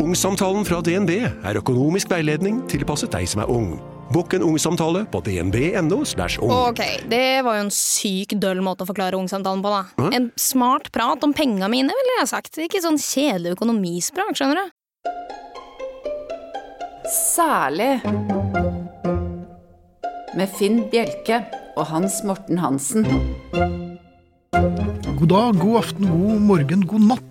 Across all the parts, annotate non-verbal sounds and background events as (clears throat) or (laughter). Ungsamtalen fra DNB er økonomisk veiledning tilpasset deg som er ung. Bokk en ungsamtale på dnb.no. slash ung. Ok, det var jo en syk døll måte å forklare ungsamtalen på, da. En smart prat om penga mine, ville jeg sagt. Ikke sånn kjedelig økonomisprat, skjønner du. Særlig med Finn Bjelke og Hans Morten Hansen. God dag, god aften, god morgen, god natt.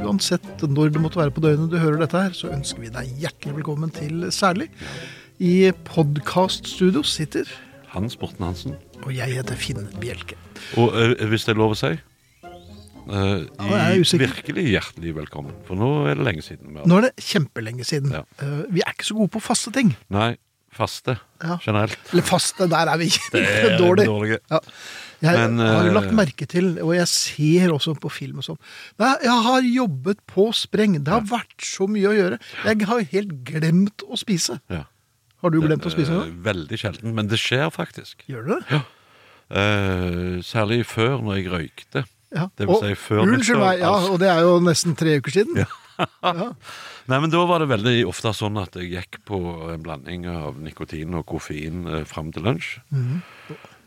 Uansett når det måtte være på døgnet du hører dette her, så ønsker vi deg hjertelig velkommen til Særlig. I podkaststudio sitter Hans Morten Hansen. Og jeg heter Finn Bjelke. Og eh, hvis det er lov å si eh, jeg er gi usikker. Virkelig hjertelig velkommen. For nå er det lenge siden. Vi har. Nå er det kjempelenge siden. Ja. Eh, Vi er ikke så gode på faste ting. Nei, faste Ja. generelt. Eller faste, der er vi (laughs) dårlig. dårlige. Ja. Jeg Men, har jo lagt eh, merke til, og jeg ser også på film og sånn Nei, Jeg har jobbet på spreng. Det har vært så mye å gjøre. Jeg har helt glemt å spise. Ja. Har du glemt å spise Eh, noe? Veldig sjelden, men det skjer faktisk. Gjør du det? Eh, særlig før, når jeg røykte. Ja. Det vil Og- si før Unnskyld nyttår, meg, ja, altså. og det er jo nesten tre uker siden. Ja. Nei, men Da var det veldig ofte sånn at jeg gikk på en blanding av nikotin og koffein eh, fram til lunsj.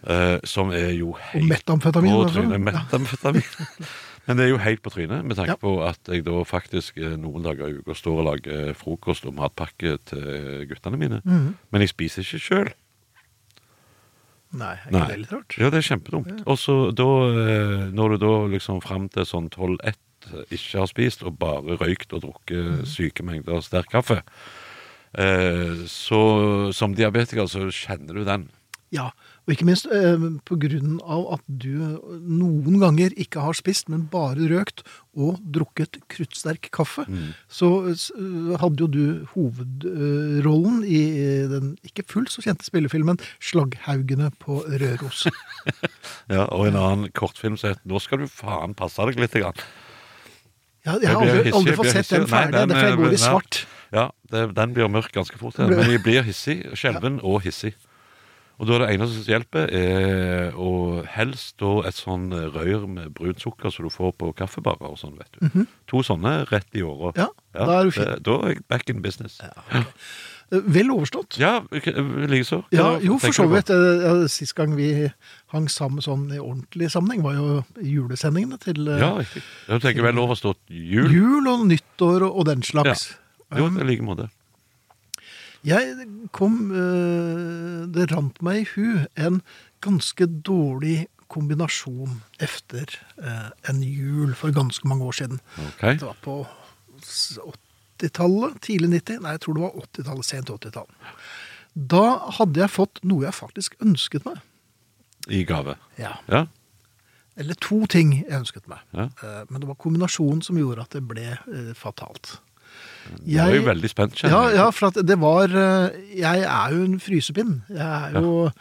Eh, som er jo helt Mhm. metamfetamin, på altså. trynet. (laughs) Metamfetamin. Men det er jo helt på trynet, med Ja. tanke på at jeg da faktisk eh, noen dager i uka står og lager eh, frokost og matpakke til guttene mine. Mhm. Men jeg spiser ikke sjøl. Nei, er ikke Nei. det litt rart? Ja, det er kjempedumt. Og så da, eh, når du da liksom fram til sånn 12-1 ikke har spist, og bare røykt og drukket syke mengder sterk kaffe, eh, så som diabetiker så kjenner du den. Ja, og ikke minst eh, på grunn av at du noen ganger ikke har spist, men bare røkt og drukket kruttsterk kaffe, Mm. så s- eh, hadde jo du hovedrollen i den ikke fullt så kjente spillefilmen 'Slagghaugene på (laughs) Røros'. Ja, og en annen kortfilm som heter Eh, 'Nå skal du faen passe deg litt'. Grann. Ja, jeg har blir aldri, hissig, aldri jeg fått blir sett den hissig. Nei, ferdig, derfor jeg går i nei. svart. Ja, det, den blir mørk ganske fort. ja. Blir- Men (laughs) jeg blir hissig, skjelven og hissig. Og da er det eneste som hjelper, er å helst da et sånn rør med brunt sukker som du får på kaffebarer og sånn, vet du. To sånne rett i året. Mhm. eh, Ja, da er du fin. Da er jeg back in business. Eh, Vel overstått. Ja, ok, likeså. Ja, Hva jo, for tenker så du på? vidt. Eh, ja, Sist gang vi hang sammen sånn i ordentlig sammenheng, var jo i julesendingene til eh, Ja, riktig. Du tenker vel overstått jul? jul og nyttår og, og den slags. Jo, Um, i like måte. Jeg kom eh, Det rant meg i hu en ganske dårlig kombinasjon efter eh, en jul for ganske mange år siden. Ok. Det var på s- 80-tallet, tidlig 90. Nei, jeg tror det var 80-tallet, sent 80-tall. Da hadde jeg fått noe jeg faktisk ønsket meg. I gave. Ja. Ja, Eller to ting jeg ønsket meg. Ja. Eh, Men det var kombinasjonen som gjorde at det ble eh, fatalt. jeg Mm. er jo veldig spent, ja, kjenner jeg. ja, for at det var eh, Jeg er jo en frysepinn. Jeg er jo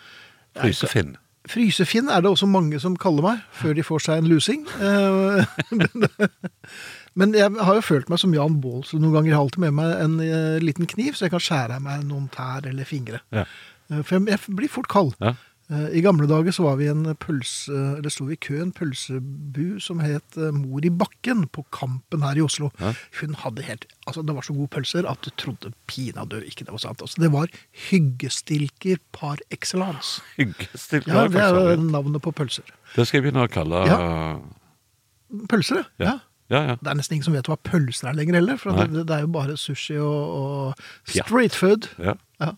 Frysefinn. Frysefinn er det også mange som kaller meg, før de får seg en lusing. Eh, (laughs) men- Men jeg har jo følt meg som Jan Baalsrud noen ganger. Jeg har alltid med meg en eh, liten kniv, så jeg kan skjære av meg noen tær eller fingre. Ja. Eh, For jeg, jeg blir fort kald. Ja. Eh, I gamle dager så var vi i en pølse, eller sto vi i kø i en pølsebu som het eh, Mor i bakken på Kampen her i Oslo. Hun hadde helt, altså Det var så gode pølser at du trodde pinadø ikke det var sant. Altså, det var hyggestilker par excellence. Hyggestilt. Ja, det er jo det, navnet på pølser. det skal jeg begynne å kalle Pølser, ja. Ja. Ja, ja. Det er nesten ingen som vet hva pølser er lenger heller, for Nei. det, det er jo bare sushi og, og Pjatt. street food. ja. Ja.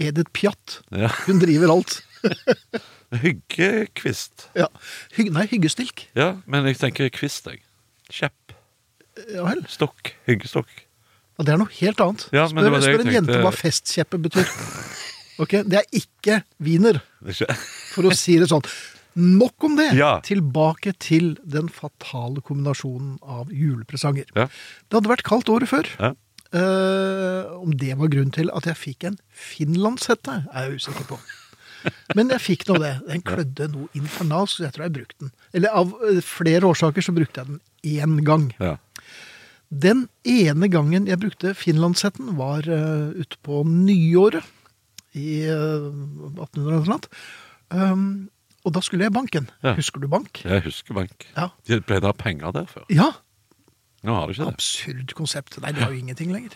Edith Piatt. Ja. Hun driver alt. (laughs) Hyggekvist. Ja. Hygg, nei, hyggestilk. Ja, men jeg tenker kvist, jeg. Kjepp. Ja vel. Stokk. Hyggestokk. Og det er noe helt annet. Ja, men spør det var det jeg spør en jente tenkte. hva festkjeppe betyr. Ok, Det er ikke wiener, Ikke- for å si det sånn. Nok om det. Ja. Tilbake til den fatale kombinasjonen av julepresanger. Ja. Det hadde vært kaldt året før. Ja. Eh, om det var grunnen til at jeg fikk en finlandshette, er jeg usikker på. Men jeg fikk nå det. Den klødde noe infernalsk, så jeg tror jeg brukte den. Eller av eh, flere årsaker så brukte jeg den én gang. Ja. Den ene gangen jeg brukte finlandshetten, var eh, ute på nyåret i eh, 1800 eller noe. Um, og da skulle jeg i banken. Ja. Husker du bank? Jeg husker bank. Ja. De pleide å ha penger der før. Ja. Nå har du ikke det. Absurd konsept. Nei, det er jo ingenting lenger.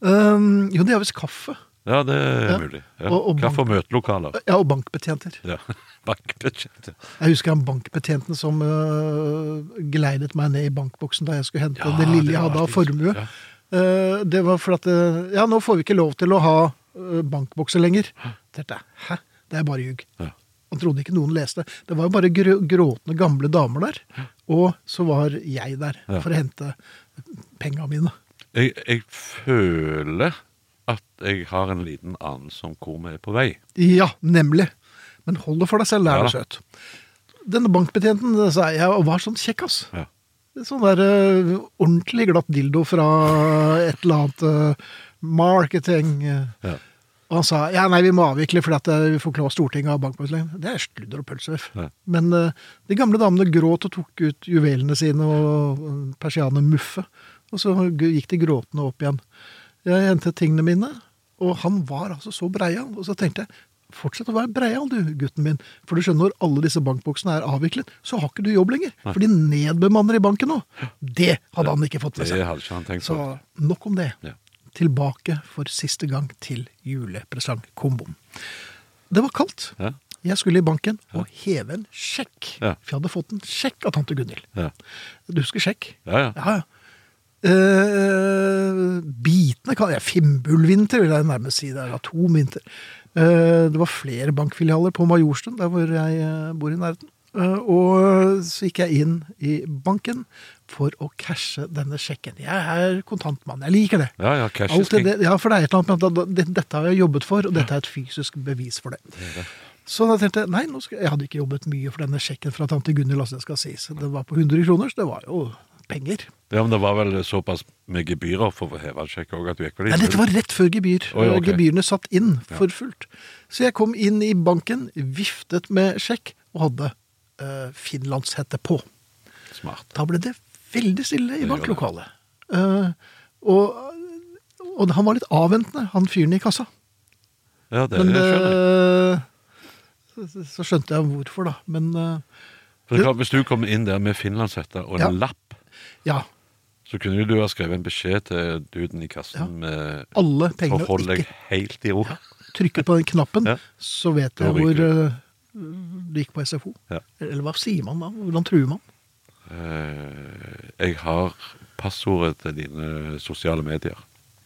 Um, jo, det er visst kaffe. Ja, det er Ja. mulig. Ja. Og- og Kaffe- og møtelokaler. Ja, og bankbetjenter. Ja. (laughs) Bankbudsjett. Jeg husker han bankbetjenten som øh, geleidet meg ned i bankboksen da jeg skulle hente Ja, det lille det jeg var hadde av alltid- formue. ja. Eh, det var for at øh, Ja, nå får vi ikke lov til å ha øh, bankbokser lenger. Tenkte jeg, hæ? Det er bare ljug. Ja. Han trodde ikke noen leste. Det var jo bare grå, gråtende gamle damer der. Og så var jeg der Ja. for å hente penga mine. Jeg, jeg føler at jeg har en liten anelse om hvor vi er på vei. Ja, nemlig. Men hold det for deg selv, det er Ja jo søt. Denne bankbetjenten sa jeg var sånn kjekk, ass. Ja. Sånn der eh, ordentlig glatt dildo fra et eller annet eh, marketing. eh, Ja. Og han sa ja, nei, vi må avvikle fordi at eh, vi får ikke lov av Stortinget å ha bankbøtling. Det er sludder og pølser. Ja. Men eh, de gamle damene gråt og tok ut juvelene sine og eh, persiane muffe. Og så gikk de gråtende opp igjen. Jeg hentet tingene mine, og han var altså så breial. Og så tenkte jeg fortsett å være breial, du, gutten min. For du skjønner, når alle disse bankboksene er avviklet, så har ikke du jobb lenger. For de nedbemanner i banken nå. Det hadde han ikke fått Det med seg. hadde ikke han tenkt Så på. nok om det. sånn. Ja. Tilbake for siste gang til julepresangkomboen. Det var kaldt. Ja. Jeg skulle i banken og heve en sjekk. Ja. For jeg hadde fått en sjekk av tante Gunhild. Ja. Du husker sjekk? Ja, ja. Ja, ja. Eh, bitene kan jeg Fimbulvinter vil jeg nærmest si. Det er atomvinter. Eh, det var flere bankfilialer på Majorstuen, der hvor jeg eh, bor i nærheten. Eh, og så gikk jeg inn i banken for å cashe denne sjekken. Jeg er kontantmann. Jeg liker det. Ja, ja, cash is Alt det, king. det- ja, for det er et eller annet med at da- det- dette har jeg jobbet for, og dette er et fysisk bevis for det. Så da tenkte jeg nei, nå skal, jeg hadde ikke jobbet mye for denne sjekken fra tante Gunhild, altså det skal sies. Det var på 100 kroner, så det var jo penger. Ja, men det var vel såpass med gebyrer for å heve en sjekk òg at du gikk Nei, vel inn. dette var rett før gebyr. Oi, ok. Gebyrene satt inn for fullt. Så jeg kom inn i banken, viftet med sjekk, og hadde eh, finlandshette på. Smart. Da ble det veldig stille i Det gjorde det. banklokalet. Eh, og, og han var litt avventende, han fyren i kassa. Ja, det Men skjønner jeg. eh, så- så skjønte jeg hvorfor, da. Men eh, For det er klart, Hvis du kommer inn der med finlandshette og en Ja. lapp, ja, så kunne jo du ha skrevet en beskjed til duden i kassen Ja. med alle pengene og Forhold deg ikke helt i ro. trykke på den knappen, Ja. så vet Da jeg ryker hvor du. eh, du gikk på SFO. Ja. Eller hva sier man da? Hvordan truer man? Eh, jeg har passordet til dine sosiale medier.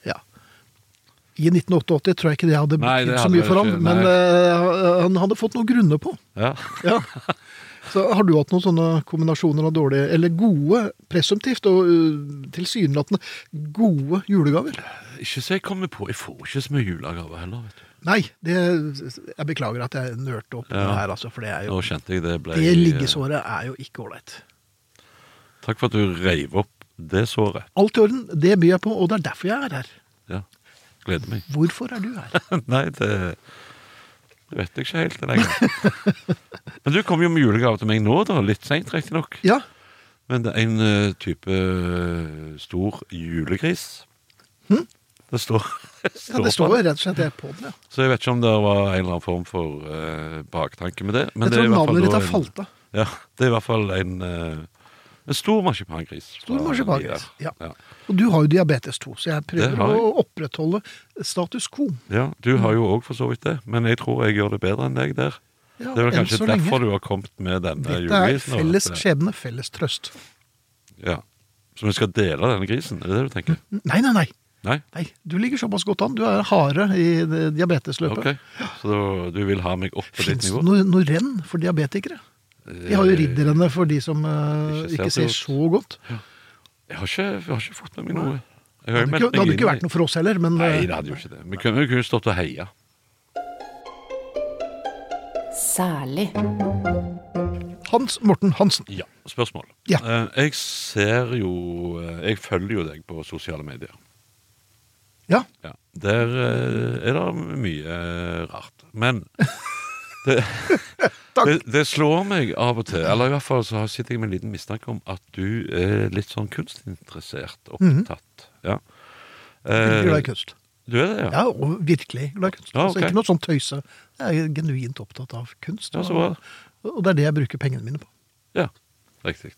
Ja. I 1988 tror jeg ikke det hadde Nei, det betydd så hadde mye det for ham, ikke, nei. men eh, han hadde fått noen grunner på. Ja. Ja. (laughs) Så har du hatt noen sånne kombinasjoner av dårlige, eller gode, presumptivt og eh, tilsynelatende gode julegaver? Ikke så jeg kommer på. Jeg får ikke så mye julegaver heller. vet du. Nei, det, jeg beklager at jeg nørte opp det her, altså, for det er jo Nå kjente jeg det ble Det liggesåret er jo ikke ålreit. Takk for at du reiv opp det såret. Alt i orden, det byr jeg på, og det er derfor jeg er her. Ja. Gleder meg. Hvorfor er du her? (laughs) Nei, det det vet jeg ikke helt lenger. (laughs) Men du kom jo med julegave til meg nå, da. Litt seint, riktignok. Ja, Men det er en eh, type eh, stor julegris. Det står, det Hm? ja det står jo rett og slett det på den, ja. Så jeg vet ikke om det var en eller annen form for eh, baktanke med det. Men Jeg det er tror i hvert fall navnet ditt da har en- falt av. (laughs) Ja, det er i hvert fall en, eh, en stor marsipangris. fra Stor marsipangris, de der. ja. Og du har jo diabetes 2, så jeg Det prøver har jeg. å opprettholde status quo. Ja, du har jo òg for så vidt det, men jeg tror jeg gjør det bedre enn deg der. Ja, det er vel enn kanskje så lenge. derfor du har kommet med denne Dette er julegrisen. og felles at det- skjebne, felles trøst. Ja. Så vi skal dele denne grisen, er det det du tenker? Nei, nei, nei. Nei? nei. Du ligger såpass godt an. Du er harde i det diabetesløpet. Ok. Så da- du vil ha meg opp på ditt Fins det nivå? Eh, noe, noe renn for diabetikere? Vi har jo ridderne for de som eh, Ikke ser ikke så ser så godt. Jeg har ikke, jeg har ikke fått med meg noe. Jeg Det har jo hadde meldt ikke, det hadde meg ikke inn i- vært noe for oss heller, men Nei, eh, det hadde jo ikke det. Vi kunne vi kunne jo stått og heia. Særlig. Hans Morten Hansen. Ja, spørsmål. Ja. Eh, Jeg ser jo eh, Jeg følger jo deg på sosiale medier. Ja, Ja. Der eh, er det mye eh, rart. (laughs) Men det, det, det slår meg av og til, eller i hvert fall så har- sitter jeg med en liten mistanke om at du er litt sånn kunstinteressert, opptatt. Ja. veldig glad i Eh, kunst. Mhm. du er det, ja? Ja, og virkelig glad i kunst. Ja, ok. altså, ikke noe sånn tøyse. Jeg er genuint opptatt av kunst. Ja, så bra. og, og det er det jeg bruker pengene mine på. Ja, riktig.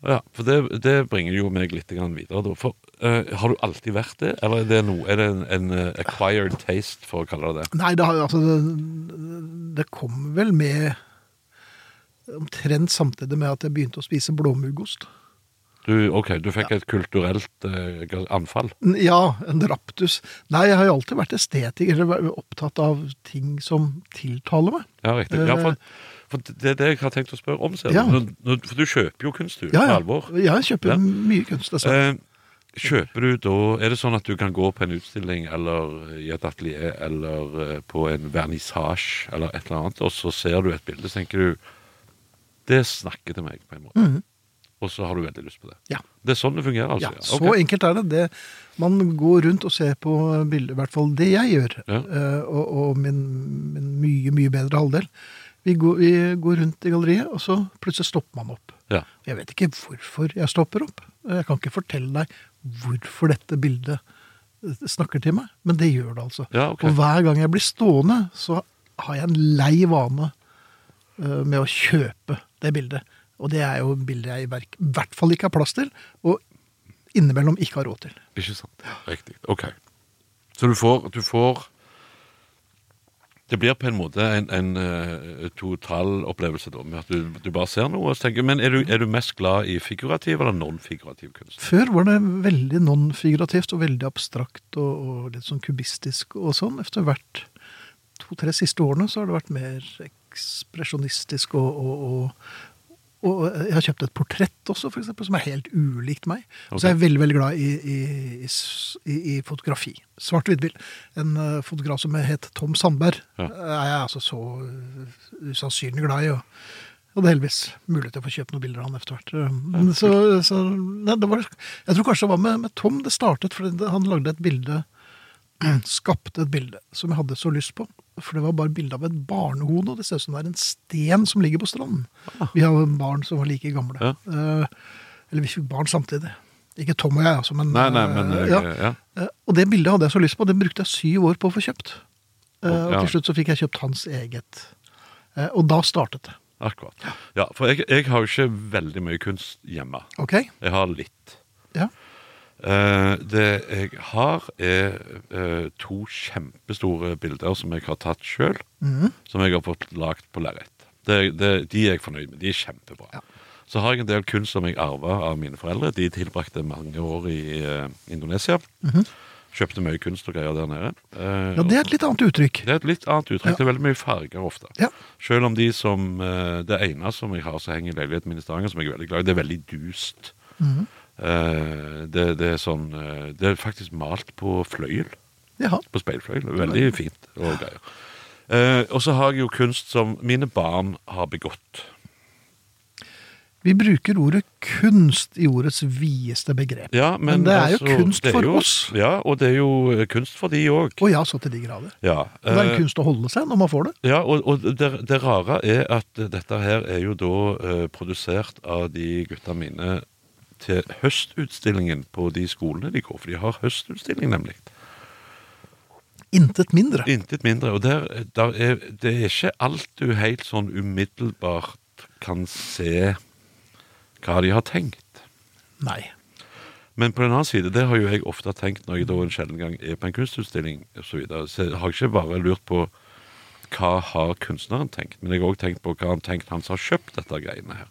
Ja, for det, det bringer jo meg litt grann videre. Da. For, eh, har du alltid vært det, eller er det, noe, er det en, en eh, acquired taste, for å kalle det det? Nei, det, har, jo- altså, det, det kom vel med Omtrent samtidig med at jeg begynte å spise blåmuggost. Du, ok, du fikk et kulturelt eh, hva- anfall. N- Ja, en raptus. Nei, jeg har jo alltid vært estetiker, eller vært opptatt av ting som tiltaler meg. Ja, riktig. Ja, for, for det er det jeg har tenkt å spørre om, ser Eh, du. Ja. Når- når- For du kjøper jo kunst, Ja, du. på ja. alvor. Jeg kjøper Ja. mye kunst, altså. dessverre. Eh, Kjøper du da Er det sånn at du kan gå på en utstilling eller i et atelier eller eh, på en vernissasje eller et eller annet, og så ser du et bilde, så tenker du Det snakker til meg, på en måte. Og så har du veldig lyst på det. Ja. Det er sånn det fungerer, Mhm. Ja, altså? så Ok. enkelt er det. det. Man går rundt og ser på bilder, i hvert fall det jeg gjør, Ja. eh, og, og min, min mye, mye bedre halvdel. Vi går, vi går rundt i galleriet, og så plutselig stopper man opp. Ja. Jeg vet ikke hvorfor jeg stopper opp. Jeg kan ikke fortelle deg hvorfor dette bildet eh, snakker til meg, men det gjør det altså. Ja, ok. Og hver gang jeg blir stående, så har jeg en lei vane eh, med å kjøpe det bildet. Og det er jo bilder jeg i verk- i hvert fall ikke har plass til, og innimellom ikke har råd til. Ikke sant? Riktig. Ok. Så du får, du får Det blir på en måte en, en eh, total opplevelse da, med at du, du bare ser noe og så tenker Men er du, er du mest glad i figurativ eller non-figurativ kunst? Før var det veldig non-figurativt og veldig abstrakt og, og litt sånn kubistisk og sånn. Etter hvert to-tre siste årene så har det vært mer ekspresjonistisk og, og, og og jeg har kjøpt et portrett også, for eksempel, som er helt ulikt meg. Og Ok. Så er jeg veldig veldig glad i, i, i, s- i, i fotografi. Svart-hvitt-bild. En eh, fotograf som het Tom Sandberg Ja. er jeg altså så eh, usannsynlig glad i. Og, jeg hadde heldigvis mulighet til å få kjøpt noen bilder av han etter hvert. Eh, Men Så, så nei, det var, jeg tror kanskje det var med, med Tom det startet, for det- han lagde et bilde (clears throat) skapte et bilde som jeg hadde så lyst på. For det var bare bilde av et barnehode, og det ser ut som det er en sten som ligger på stranden. Vi har barn som var like gamle. Ah. Ja. Eh, eller vi fikk barn samtidig. Ikke Tom og jeg, altså, men, Nei, nei, men eh, eh, ja. ja. Eh, Og det bildet hadde jeg så lyst på, det brukte jeg syv år på å få kjøpt. Eh, og Ja. til slutt så fikk jeg kjøpt hans eget. Eh, og da startet det. Akkurat. Ja, For jeg, jeg har jo ikke veldig mye kunst hjemme. Ok? Jeg har litt. Ja. Eh, det jeg har, er eh, to kjempestore bilder som jeg har tatt sjøl. Mhm. Som jeg har fått lagd på lerret. Det- det- De er jeg fornøyd med. De er kjempebra. Så har jeg en del kunst som jeg arva av mine foreldre. De tilbrakte mange år i eh, Indonesia. Kjøpte mye kunst og greier der nede. Mhm. Eh, ja, det er et litt annet uttrykk. det er et litt annet uttrykk. Det er veldig mye farger ofte. Ja. Selv om de som, eh, det ene som jeg har som henger i leiligheten min i Stavanger, som jeg er veldig glad i, det er veldig dust. Mhm. Eh, det, det, er sånn, eh, det er faktisk malt på fløyel, Jaha. på speilfløyel. Veldig fint og greier. Eh, og så har jeg jo kunst som mine barn har begått. Vi bruker ordet kunst i ordets videste begrep. Ja, Men men, det er jo altså, kunst det er for jo- oss. Ja, og det er jo eh, kunst for de òg. Og ja, så til de grader. Ja, Det er eh, en kunst å holde seg når man får det. Ja, og, og det, det rare er at dette her er jo da eh, produsert av de gutta mine til høstutstillingen på de skolene de går, for de har høstutstilling nemlig. Intet mindre. Intet mindre. Og der, der er, det er ikke alt du helt sånn umiddelbart kan se hva de har tenkt. Nei. Men på den annen side, det har jo jeg ofte tenkt når jeg da en sjelden gang er på en kunstutstilling osv. Så, videre, så jeg har ikke bare lurt på hva har kunstneren tenkt, men jeg har òg tenkt på hva han tenkt han som har kjøpt dette greiene her.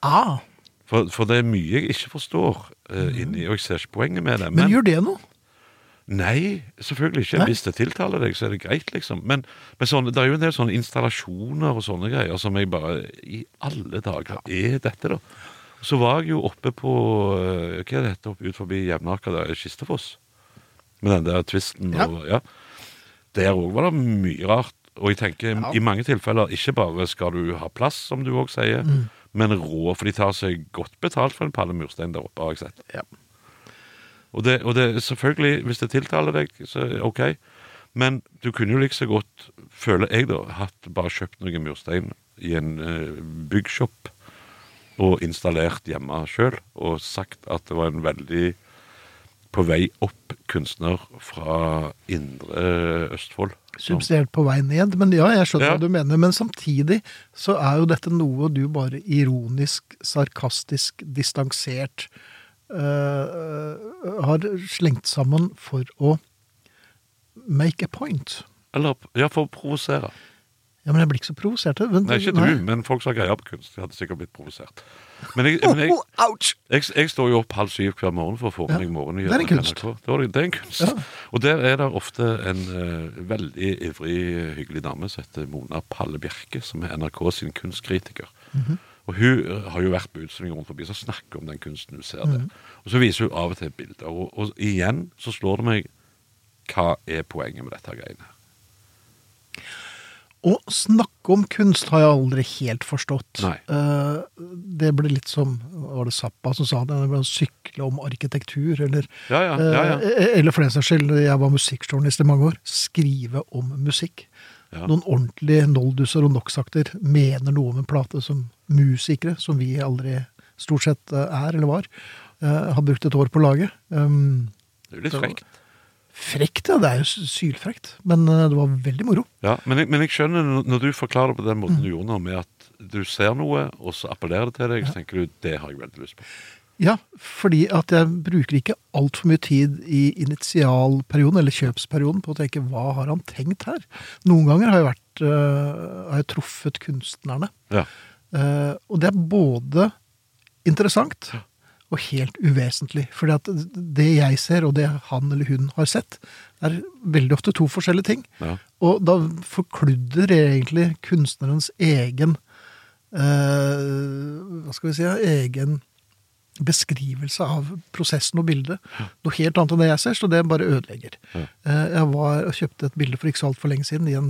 Ah, For, for det er mye jeg ikke forstår eh, inni, og jeg ser ikke poenget med det. Mhm. men, gjør det noe? Nei, selvfølgelig ikke. Nei? Hvis det tiltaler deg, så er det greit, liksom. Men, men sånn, det er jo en del sånne installasjoner og sånne greier som jeg bare I alle dager, hva er dette, da? Så var jeg jo oppe på eh, Hva er det heter oppe ut forbi Jevnaker, der er Kistefoss? Med den der tvisten Ja. og Ja. Der òg var det mye rart. Og jeg tenker Ja. i mange tilfeller ikke bare skal du ha plass, som du òg sier, Mm. men rå, for de tar seg godt betalt for en palle murstein der oppe, har jeg sett. Ja. Og det, og det selvfølgelig, hvis det tiltaler deg, så ok. Men du kunne jo like så godt, føler jeg da, hatt bare kjøpt noe murstein i en uh, byggshop og installert hjemme sjøl og sagt at det var en veldig på vei opp kunstner fra indre Østfold. som- Subsidiert på vei ned, men ja, jeg skjønner Ja. hva du mener. Men samtidig så er jo dette noe du bare ironisk, sarkastisk, distansert eh, har slengt sammen for å make a point. Eller ja, for å provosere. Ja, men jeg blir ikke så provosert. jeg. Vent, Nei, ikke nei. du, men folk som har greie på kunst, de hadde sikkert blitt provosert. Men jeg, men (laughs) jeg, jeg, jeg står jo opp halv syv hver morgen for å få Ja. med meg morgenen. Det er en kunst. Det er, det er en kunst. Ja. Og der er det ofte en eh, veldig ivrig, hyggelig dame som heter Mona Palle Bjerke, som er NRK sin kunstkritiker. Mhm. Og hun eh, har jo vært på utstilling rundt forbi, så snakker hun om den kunsten hun ser Mhm. der. Og så viser hun av og til bilder. Og, og igjen så slår det meg hva er poenget med dette greiene her? Å snakke om kunst har jeg aldri helt forstått. Nei. Eh, det ble litt som Var det Zappa som sa det? det ble å sykle om arkitektur, eller Ja, ja, ja, ja. eh, Eller for den saks skyld, jeg var musikkjournalist i mange år. Skrive om musikk. Ja. Noen ordentlige nolduser og nox-akter mener noe om en plate som musikere, som vi aldri stort sett eh, er eller var, eh, har brukt et år på å lage. Um, Det er jo litt Det var- frekt. frekt, ja. Det er jo s- sylfrekt. Men eh, det var veldig moro. Ja, men jeg, men jeg skjønner når- når du forklarer det på den Mhm. måten du gjorde nå, med at du ser noe, og så appellerer det til deg, så tenker du det har jeg veldig lyst på. Ja, fordi at jeg bruker ikke altfor mye tid i initialperioden, eller kjøpsperioden, på å tenke hva har han tenkt her? Noen ganger har jeg, vært, øh, har jeg truffet kunstnerne. Ja. Eh, og det er både interessant og helt uvesentlig. Fordi at det jeg ser, og det han eller hun har sett, er veldig ofte to forskjellige ting. Ja. Og da forkludder egentlig kunstnerens egen eh, Hva skal vi si ja, Egen beskrivelse av prosessen og bildet. Noe helt annet enn det jeg ser, så det bare ødelegger. Eh, jeg var og kjøpte et bilde for ikke så altfor lenge siden i, en,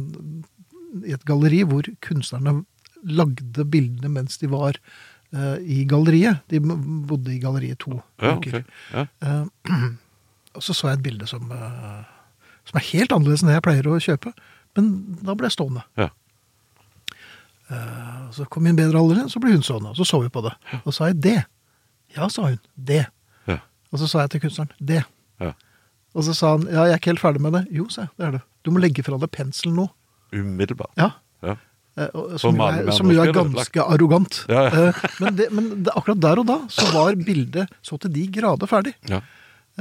i et galleri hvor kunstnerne lagde bildene mens de var eh, i galleriet. De bodde i galleriet to Ja, uker. ok. ja. Og så så jeg et bilde som, eh, som er helt annerledes enn det jeg pleier å kjøpe. Men da ble jeg stående. ja. Og så kom min bedre alder, så ble hun stående. Og så så vi på det. Og så sa jeg det. Ja, sa hun. Det. ja. Og så sa jeg til kunstneren det. ja. Og så sa han ja, jeg er ikke helt ferdig med det. Jo, sa jeg. Det er det. Du må legge fra deg penselen nå. Umiddelbart. Ja. Ja. Eh, og- Som, jo maler er, med som jo er andre spillere, ganske arrogant. Ja, ja. Eh, Men, det, men det, akkurat der og da så var bildet så til de grader ferdig. Ja.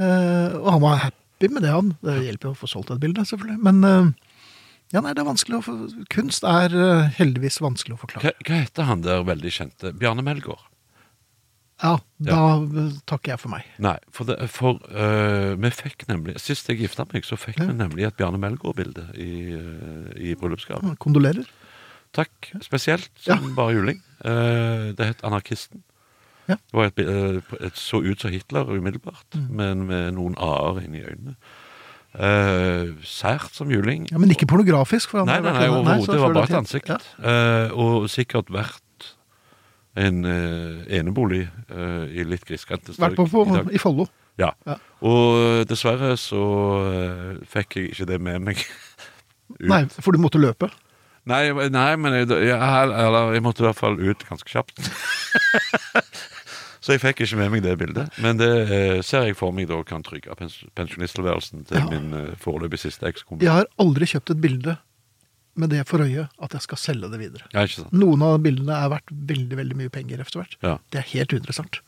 Eh, og han var happy med det, han. Det hjelper jo å få solgt et bilde, selvfølgelig. Men eh, ja, nei, det er vanskelig å få Kunst er eh, heldigvis vanskelig å forklare. Hva, hva heter han der veldig kjente? Bjarne Melgaard? Ja, da eh, takker jeg for meg. Nei, for, det, for øh, vi fikk nemlig Sist jeg gifta meg, så fikk Ja. vi nemlig et Bjarne Melgaard-bilde i, øh, i Mm. bryllupsgave. Kondolerer. Takk. Spesielt som bare juling. Eh, det het Anarkisten. Ja. Det var et, bi- eh, et, så ut som Hitler umiddelbart, Mm. men med noen a-er inni øynene. Eh, sært som juling. Ja, Men ikke pornografisk. For han Nei, har nei, vært nei gjennom- overhodet. så Det var før bare et tid. ansikt. Ja. Eh, og sikkert vært en eh, enebolig eh, i litt grisgrendte strøk Vært på, på, i dag. i Follo. Ja. Ja. Og dessverre så eh, fikk jeg ikke det med meg. Ut. (laughs) Nei, for du måtte løpe. Nei, nei men jeg, jeg, eller, jeg måtte i hvert fall ut ganske kjapt. (laughs) Så jeg fikk ikke med meg det bildet. Men det eh, ser jeg for meg da kan trygge pens pensjonisttilværelsen til Ja. min eh, foreløpig siste ekskone. Jeg har aldri kjøpt et bilde med det for øye at jeg skal selge det videre. Ja, ikke sant? Noen av bildene er verdt veldig veldig mye penger etter hvert. Ja. Det er helt uinteressant.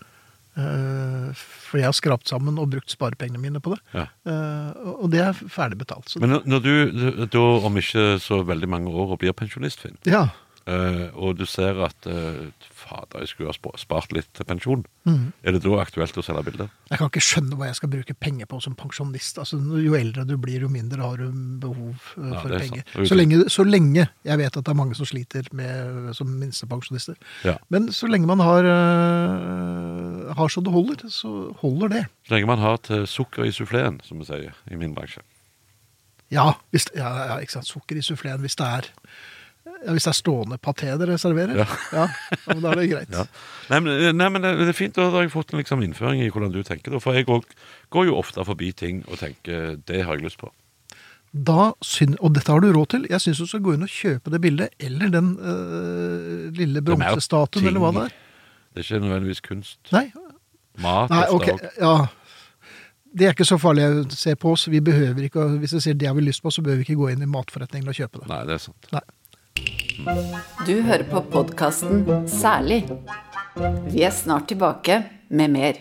Eh, for jeg har skrapt sammen og brukt sparepengene mine på det. Ja. Eh, og- og det er ferdig betalt. Så Men når- når du da om ikke så veldig mange år og blir pensjonist, Finn, ja. eh, og du ser at eh, fader, jeg skulle ha spa- spart litt til pensjon, Mhm. er det da aktuelt å selge bilder? Jeg kan ikke skjønne hva jeg skal bruke penger på som pensjonist. Altså, jo eldre du blir, jo mindre har du behov eh, Ja, for det er penger. sant. Så lenge, så lenge jeg vet at det er mange som sliter med, som minstepensjonister. Ja. Men så lenge man har, eh, har så det holder, så holder det. Så lenge man har til sukker i suffleen, som vi sier i min bransje. Ja, hvis, ja, ja ikke sant? sukker i suffleen hvis det er ja, hvis det er stående paté dere serverer, ja. Ja. ja, men da er det greit. Ja. Nei, men, eh, nei, men det, det er fint, da har jeg fått en liksom, innføring i hvordan du tenker. Da, for jeg òg går jo ofte forbi ting og tenker 'det har jeg lyst på'. Da syn- og dette har du råd til. Jeg syns du skal gå inn og kjøpe det bildet, eller den øh, lille Det er jo bronsestatuen, ting. eller hva det er. Det er ikke nødvendigvis kunst. Nei, Mat Nei ok, ofte også. ja. det er ikke så farlig å se på oss. Vi behøver ikke, å- Hvis vi sier det har vi lyst på, så behøver vi ikke gå inn i matforretningen og kjøpe det. Nei, det er sant. Nei. Du hører på podkasten Særlig. Vi er snart tilbake med mer.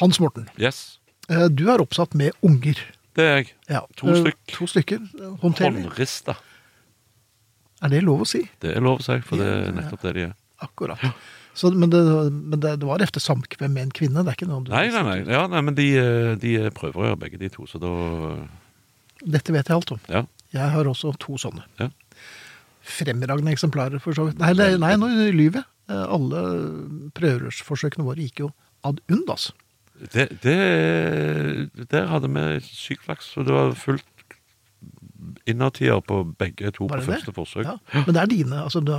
Hans Morten, Yes, eh, du er oppsatt med unger. det er jeg. Ja. To Eh, stykk. To stykker. Håndterlig. Håndrista. Er det lov å si? Det er eh, lov å si, for det er nettopp det de er. Akkurat. Så, men det, men det, det var efter samkvem med en kvinne? Det er ikke noe du Nei, nei, nei. Ja, nei men de, eh, de prøver å gjøre begge de to, så da Dette vet jeg alt om. Ja. Jeg har også to sånne. Ja. Fremragende eksemplarer, for så vidt. Nei, det, nei nå lyver jeg. Eh, Alle prøveforsøkene våre gikk jo ad undas. Det, det Der hadde vi sykt flaks, for det var fullt innertier på begge Var to på det det? første forsøk. Ja. Men det er dine. Altså, du,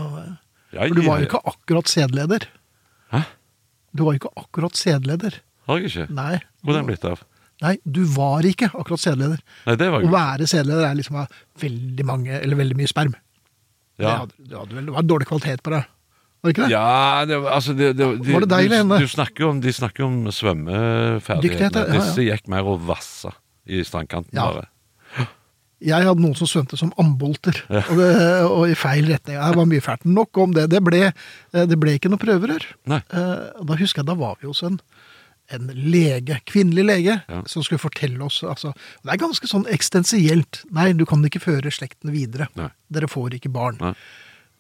Ja, for du var jeg- jo ikke akkurat sædleder. Hæ? Du var jo ikke akkurat sædleder. Har jeg ikke? Nei. Hvor er den blitt av? Nei, du var ikke akkurat sædleder. Nei, det var Å jo være sædleder er liksom å ha veldig mange, eller veldig mye sperm. Det, ja. hadde, du hadde vel, det var dårlig kvalitet på deg. Var det ikke det? Ja, det, var- altså det, det, de, Var det deg eller henne? Du, du snakker jo om, de snakker jo om Dyktighet, ja, svømmeferdighetene. ja. Disse gikk mer og vassa i strandkanten. Ja. bare. Jeg hadde noen som svømte som ambolter, og, det, og i feil retning. Det var mye fælt. Nok om det. Det ble, eh, det ble ikke noe prøverør. Nei. Eh, og da husker jeg, da var vi hos en, en lege, kvinnelig lege, Ja. som skulle fortelle oss altså, Det er ganske sånn eksistensielt. Nei, du kan ikke føre slekten videre. Nei. Dere får ikke barn. Nei.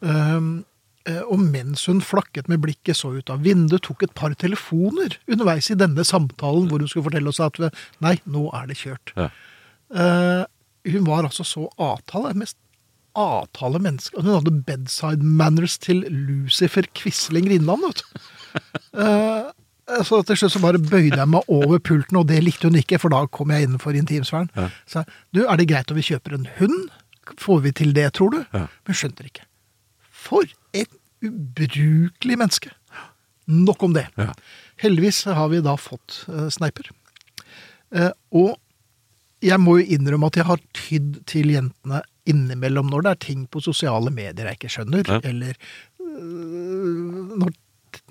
Ehm, eh, og mens hun flakket med blikket, så ut av vinduet, tok et par telefoner underveis i denne samtalen hvor hun skulle fortelle oss at nei, nå er det kjørt. Ja. Eh, hun var altså så avtale, mest avtale menneske. Hun hadde bedside manners til Lucifer Quisling Grindland, vet du. Eh, så til slutt så bare bøyde jeg meg over pulten, og det likte hun ikke, for da kom jeg innenfor intimsfæren. Så jeg, du, er det greit om vi kjøper en hund? Får vi til det, tror du? Ja. Men skjønte det ikke. For et ubrukelig menneske. Nok om det. Ja. Heldigvis har vi da fått eh, sneiper. Eh, og jeg må jo innrømme at jeg har tydd til jentene innimellom når det er ting på sosiale medier jeg ikke skjønner, Ja. eller øh, når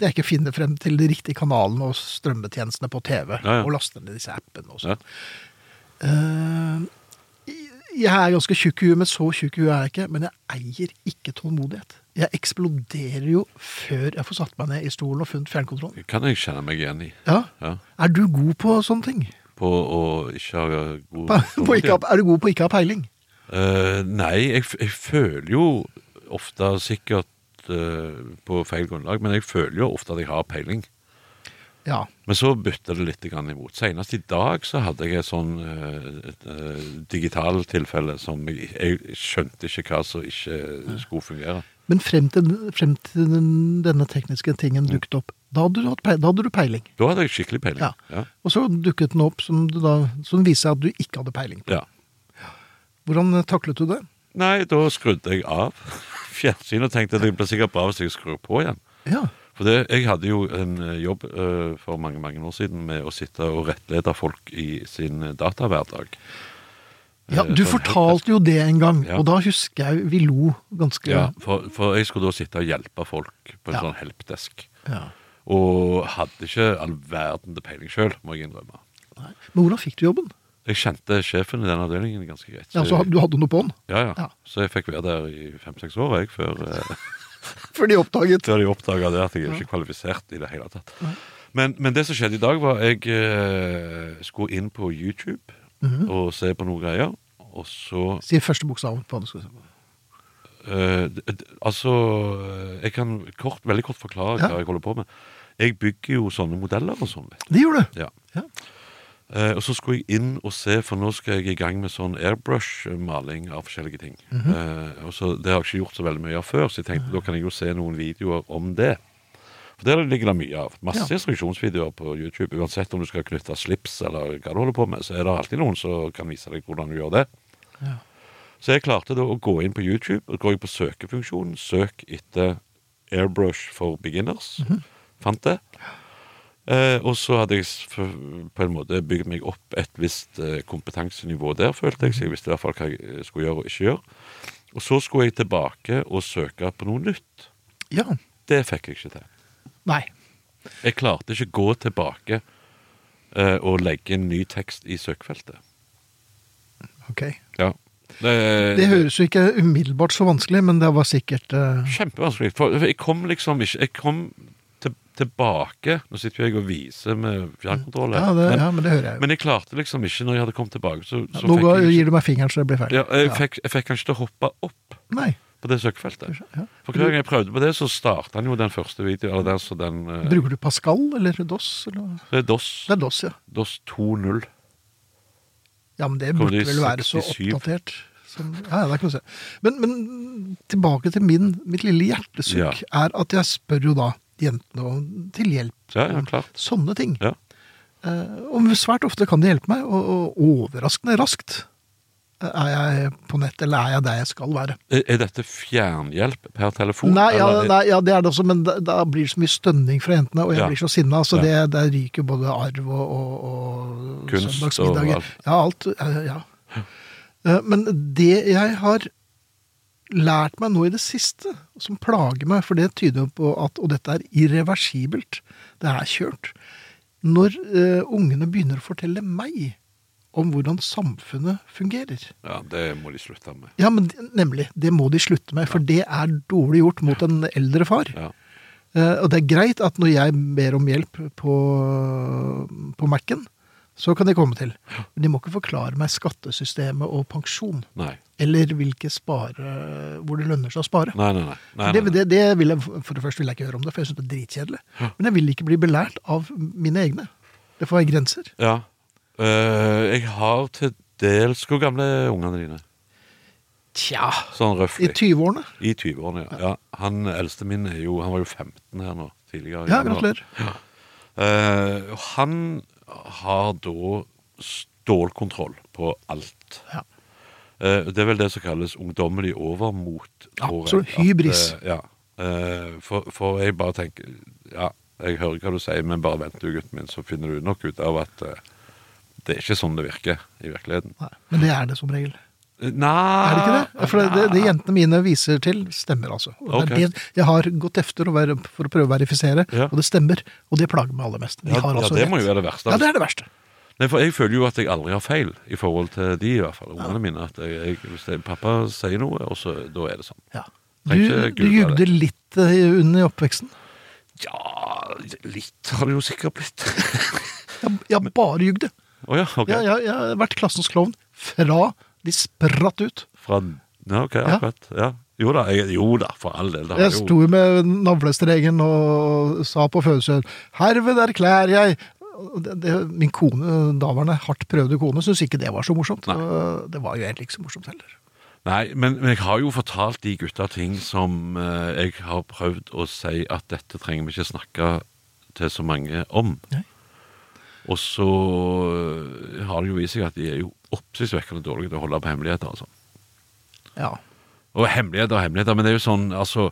jeg ikke finner frem til de riktige kanalene og strømmetjenestene på TV, Ja, ja. og laster ned disse appene og Ja. sånn. Eh, jeg er ganske tjukk i huet, men så tjukk i huet er jeg ikke. Men jeg eier ikke tålmodighet. Jeg eksploderer jo før jeg får satt meg ned i stolen og funnet fjernkontrollen. Kan jeg kjenne meg igjen i. Ja. Ja. Er du god på sånne ting? På å ikke ha god På, (laughs) på ikke, ha- er du god på ikke å ha peiling? Eh, nei, jeg, f- jeg føler jo ofte sikkert eh, på feil grunnlag, men jeg føler jo ofte at jeg har peiling. Ja. Men så bytter det litt grann imot. Senest i dag så hadde jeg et sånn eh, et, eh, digital tilfelle som jeg, jeg skjønte ikke hva som ikke skulle fungere. Men frem til, frem til den- denne tekniske Mm. tingen dukket opp, da hadde du, hatt peiling, da hadde du peiling. Da hadde jeg skikkelig peiling. Ja. Ja. Og så dukket den opp som, du da, som viser at du ikke hadde peiling. Ja. Hvordan eh, taklet du det? Nei, da skrudde jeg av (laughs) fjernsynet og tenkte at det blir sikkert bra hvis jeg skrur på igjen. Ja. For det, jeg hadde jo en eh, jobb eh, for mange mange år siden med å sitte og rettlede folk i sin datahverdag. ja du Eh, sånn helt- fortalte jo det en gang, Ja. og da husker jeg vi lo ganske Ja, for, for jeg skulle da sitte og hjelpe folk på en Ja. sånn helpdesk. Ja. Og hadde ikke all verden til peiling sjøl, må jeg innrømme. Nei. Men hvordan fikk du jobben? Jeg kjente sjefen i den avdelingen ganske greit. Ja, så du hadde noe på den? ja, ja. Ja. så jeg fikk være der i fem-seks år jeg, før, eh, Før de oppdaget. før de oppdaga det at jeg er ikke kvalifisert i det hele tatt. Men, men det som skjedde i dag, var jeg eh, skulle inn på YouTube og se på noen greier. Og så Si første bokstaven på den. skal vi se. Eh, d- d- altså eh, Jeg kan kort, veldig kort forklare Ja. hva jeg holder på med. Jeg bygger jo sånne modeller og sånn. vet Det gjorde du. du. Ja. Ja. Eh, og så skulle jeg inn og se, for nå skal jeg i gang med sånn airbrush-maling av forskjellige ting. Mhm. Eh, og så, Det har jeg ikke gjort så veldig mye av før, så jeg tenkte da kan jeg jo se noen videoer om det. For der ligger det mye av. Masse Ja. instruksjonsvideoer på YouTube. Uansett om du skal knytte slips eller hva du holder på med, så er det alltid noen som kan vise deg hvordan du gjør det. Ja. Så jeg klarte da å gå inn på YouTube, og går inn på søkefunksjonen, søk etter airbrush for beginners, Mhm. fant det. Eh, og så hadde jeg s- f- på en måte bygd meg opp et visst eh, kompetansenivå der, følte jeg, så jeg visste i hvert fall hva jeg eh, skulle gjøre og ikke gjøre. Og så skulle jeg tilbake og søke på noe nytt. Ja. Det fikk jeg ikke til. Nei. Jeg klarte ikke gå tilbake eh, og legge en ny tekst i søkefeltet. Ok. Ja. Det, Det høres jo ikke umiddelbart så vanskelig, men det var sikkert eh, Kjempevanskelig. For jeg kom liksom ikke Jeg kom til, tilbake Nå sitter jo jeg og viser med fjernkontroll. her, ja, det, men, ja, men det hører jeg jo. men jeg klarte liksom ikke, når jeg hadde kommet tilbake så, så Nå ga, fikk jeg, gir du meg fingeren så jeg blir ikke- ferdig. ja, eh, jeg, fikk, jeg fikk han ikke til å hoppe opp Nei. på det søkefeltet. Ja. For hver gang jeg prøvde på det, så starta han jo den første videoen. Eller den, så den eh, Bruker du Pascal eller DOS? Eller? Det er DOS, Det er DOS, ja. DOS 2.0. Ja, men det Kommer burde det i vel være så 67? oppdatert. Som, ja, det er ikke noe å si. Men, men tilbake til min, mitt lille hjertesukk er at jeg spør jo da jentene om til hjelp. Ja, ja, om klart. Sånne ting. Ja. Eh, og svært ofte kan de hjelpe meg, og, og overraskende raskt eh, er jeg på nett, eller er jeg der jeg skal være. Er, er dette fjernhjelp per telefon? Nei, ja, eller er- nei, ja, det er det også, men da, da blir det så mye stønning fra jentene, og jeg Ja. blir så sinna, så Ja. det, det ryker både arv og, og, og Kunst og søndagsmiddager. alt. Ja, alt. eh, Ja. Eh, Men det jeg har lært meg nå i det siste, som plager meg, for det tyder jo på at Og dette er irreversibelt. Det er kjørt. Når eh, ungene begynner å fortelle meg om hvordan samfunnet fungerer. ja, det må de slutte med. Ja, men det- nemlig. Det må de slutte med, for det er dårlig gjort mot en eldre far. Ja. Eh, og det er greit at når jeg ber om hjelp på, på Mac-en, så kan de komme til. Men de må ikke forklare meg skattesystemet og pensjon. Nei. Eller hvilke spare, hvor det lønner seg å spare. Nei, nei, nei. nei, det, nei, nei. det, det vil jeg, for det første vil jeg ikke høre om det, for jeg syns det er dritkjedelig. Men jeg vil ikke bli belært av mine egne. Det får være grenser. Ja. Eh, jeg har til dels Hvor gamle er ungene dine? Tja Sånn I røftlig. 20-årene. I 20-årene, ja. ja. Han eldste min er jo Han var jo 15 her nå tidligere. i Ja, januar. gratulerer. Eh, og han har da stålkontroll på alt. Ja. Eh, det er vel det som kalles ungdommelig overmot. tror jeg. Absolutt. At, eh, Hybris. ja. Eh, for, for jeg bare tenker Ja, jeg hører hva du sier, men bare vent du, gutten min, så finner du nok ut av at eh, det er ikke sånn det virker i virkeligheten. Nei, men det er det som regel. Er Eh, det Nei ikke det? Ja, For det, det, det jentene mine viser til, stemmer altså. Og det Ah. Ok. er det jeg har gått efter å være, for å prøve å verifisere, Ja. og det stemmer. Og det plager meg aller mest. De Ja, har ja, altså det må rett. jo være det verste. Ja, det er det verste. Nei, for jeg føler jo at jeg aldri har feil i forhold til de, i hvert fall. Ungene mine. At jeg, jeg, hvis det, pappa sier noe, og så da er det sånn. Ja. Du, Trenger ikke du google jugde det. litt eh, under i oppveksten. Ja, litt har det jo sikkert blitt. Jeg, jeg bare jugde. Å ja, ok. Jeg, jeg, jeg har vært klassens klovn fra de spratt ut. Fra Ja, ok, akkurat. Ja. Jo da, jeg, jo da, for all del. Det har Jeg jo- sto med navlestregen og sa på fødselen 'Herved erklærer jeg' Og det, det, Min kone, daværende hardt prøvde kone, syntes ikke det var så morsomt. Nei. Og Det var jo egentlig ikke så morsomt heller. Nei, men, men jeg har jo fortalt de gutta ting som eh, jeg har prøvd å si at dette trenger vi ikke snakke til så mange om. Nei. Og så eh, har det jo vist seg at de er jo oppsiktsvekkende dårlige til å holde på hemmeligheter. altså. Ja. Og hemmeligheter og hemmeligheter, men det er jo sånn, altså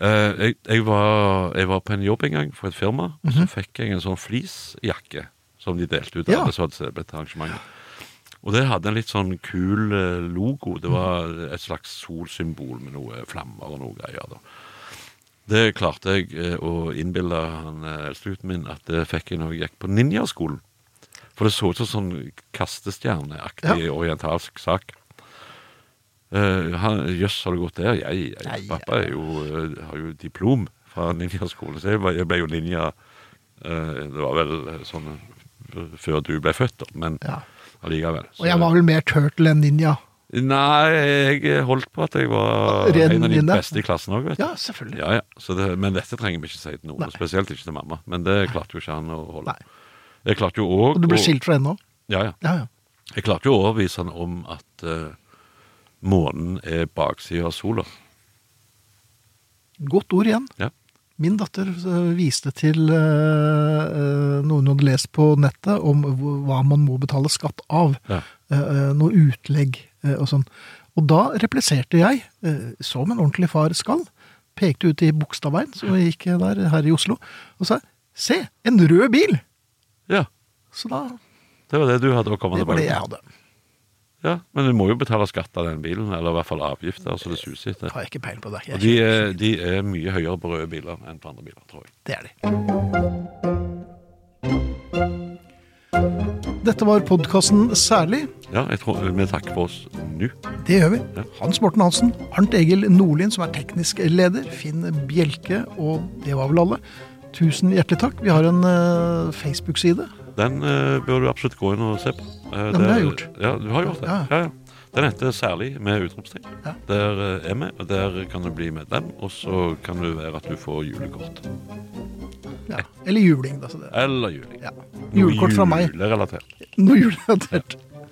eh, jeg, jeg, var, jeg var på en jobb en gang for et firma, og så fikk jeg en sånn fleecejakke som de delte ut av Ja. alle som hadde blitt arrangementet. Og det hadde en litt sånn kul eh, logo. Det var et slags solsymbol med noe flammer og noe greier. da. Det klarte jeg eh, å innbille han eh, eldste gutten min at det fikk jeg når jeg gikk på ninjaskolen. For det så ut som sånn kastestjerneaktig orientalsk sak. Eh, han, Jøss, har du gått der? Jeg, jeg, Nei, pappa er jo, eh, har jo diplom fra ninjaskolen, så jeg, var- jeg ble jo ninja eh, Det var vel eh, sånn eh, før du ble født, da, men Ja. allikevel. Og jeg var vel mer turtle enn ninja. Nei, jeg holdt på at jeg var Ren en av de ninja? beste i klassen òg, vet du. Ja, selvfølgelig. Ja, ja. Så det, men dette trenger vi ikke si til noen, Nei. spesielt ikke til mamma. Men det klarte jo ikke han å holde. Nei. Jeg klarte jo òg Og du ble skilt fra henne òg? Ja, ja. Ja, ja. Jeg klarte jo å overbevise han om at eh, månen er baksida av sola. Godt ord igjen. Ja. Min datter eh, viste til eh, eh, noe hun hadde lest på nettet om hvor- hva man må betale skatt av. Ja. Eh, eh, Noe utlegg eh, og sånn. Og da repliserte jeg, eh, som en ordentlig far skal, pekte ut i Bogstadveien, som vi gikk der her i Oslo, og sa 'se, en rød bil'! ja. Så da Det var det du hadde å komme Det var det jeg tilbake til. hadde. Ja, Men du må jo betale skatt av den bilen, eller i hvert fall avgifter, så det suser etter. Har jeg ikke peil på det. Og Jeg, de er, de er mye høyere på røde biler enn på andre biler, tror jeg. det er de. Dette var podkasten Særlig. Ja, jeg tror Vi takker for oss nå. Det gjør vi. Hans Morten Hansen, Arnt Egil Nordlien, som er teknisk leder, Finn Bjelke, og det var vel alle. Tusen hjertelig takk. Vi har en eh, Facebook-side. Den eh, bør du absolutt gå inn og se på. men Eh, det har der- jeg gjort. Ja, du har gjort det. Ja. Ja, ja. Den heter Særlig med utropstegn. Ja. Der eh, er vi, og der kan du bli medlem. Og så kan det være at du får julekort. Ja. Eller juling, da. Så det. Eller juling. Ja. Julekort fra meg. Julerelatert. Noe julerelatert.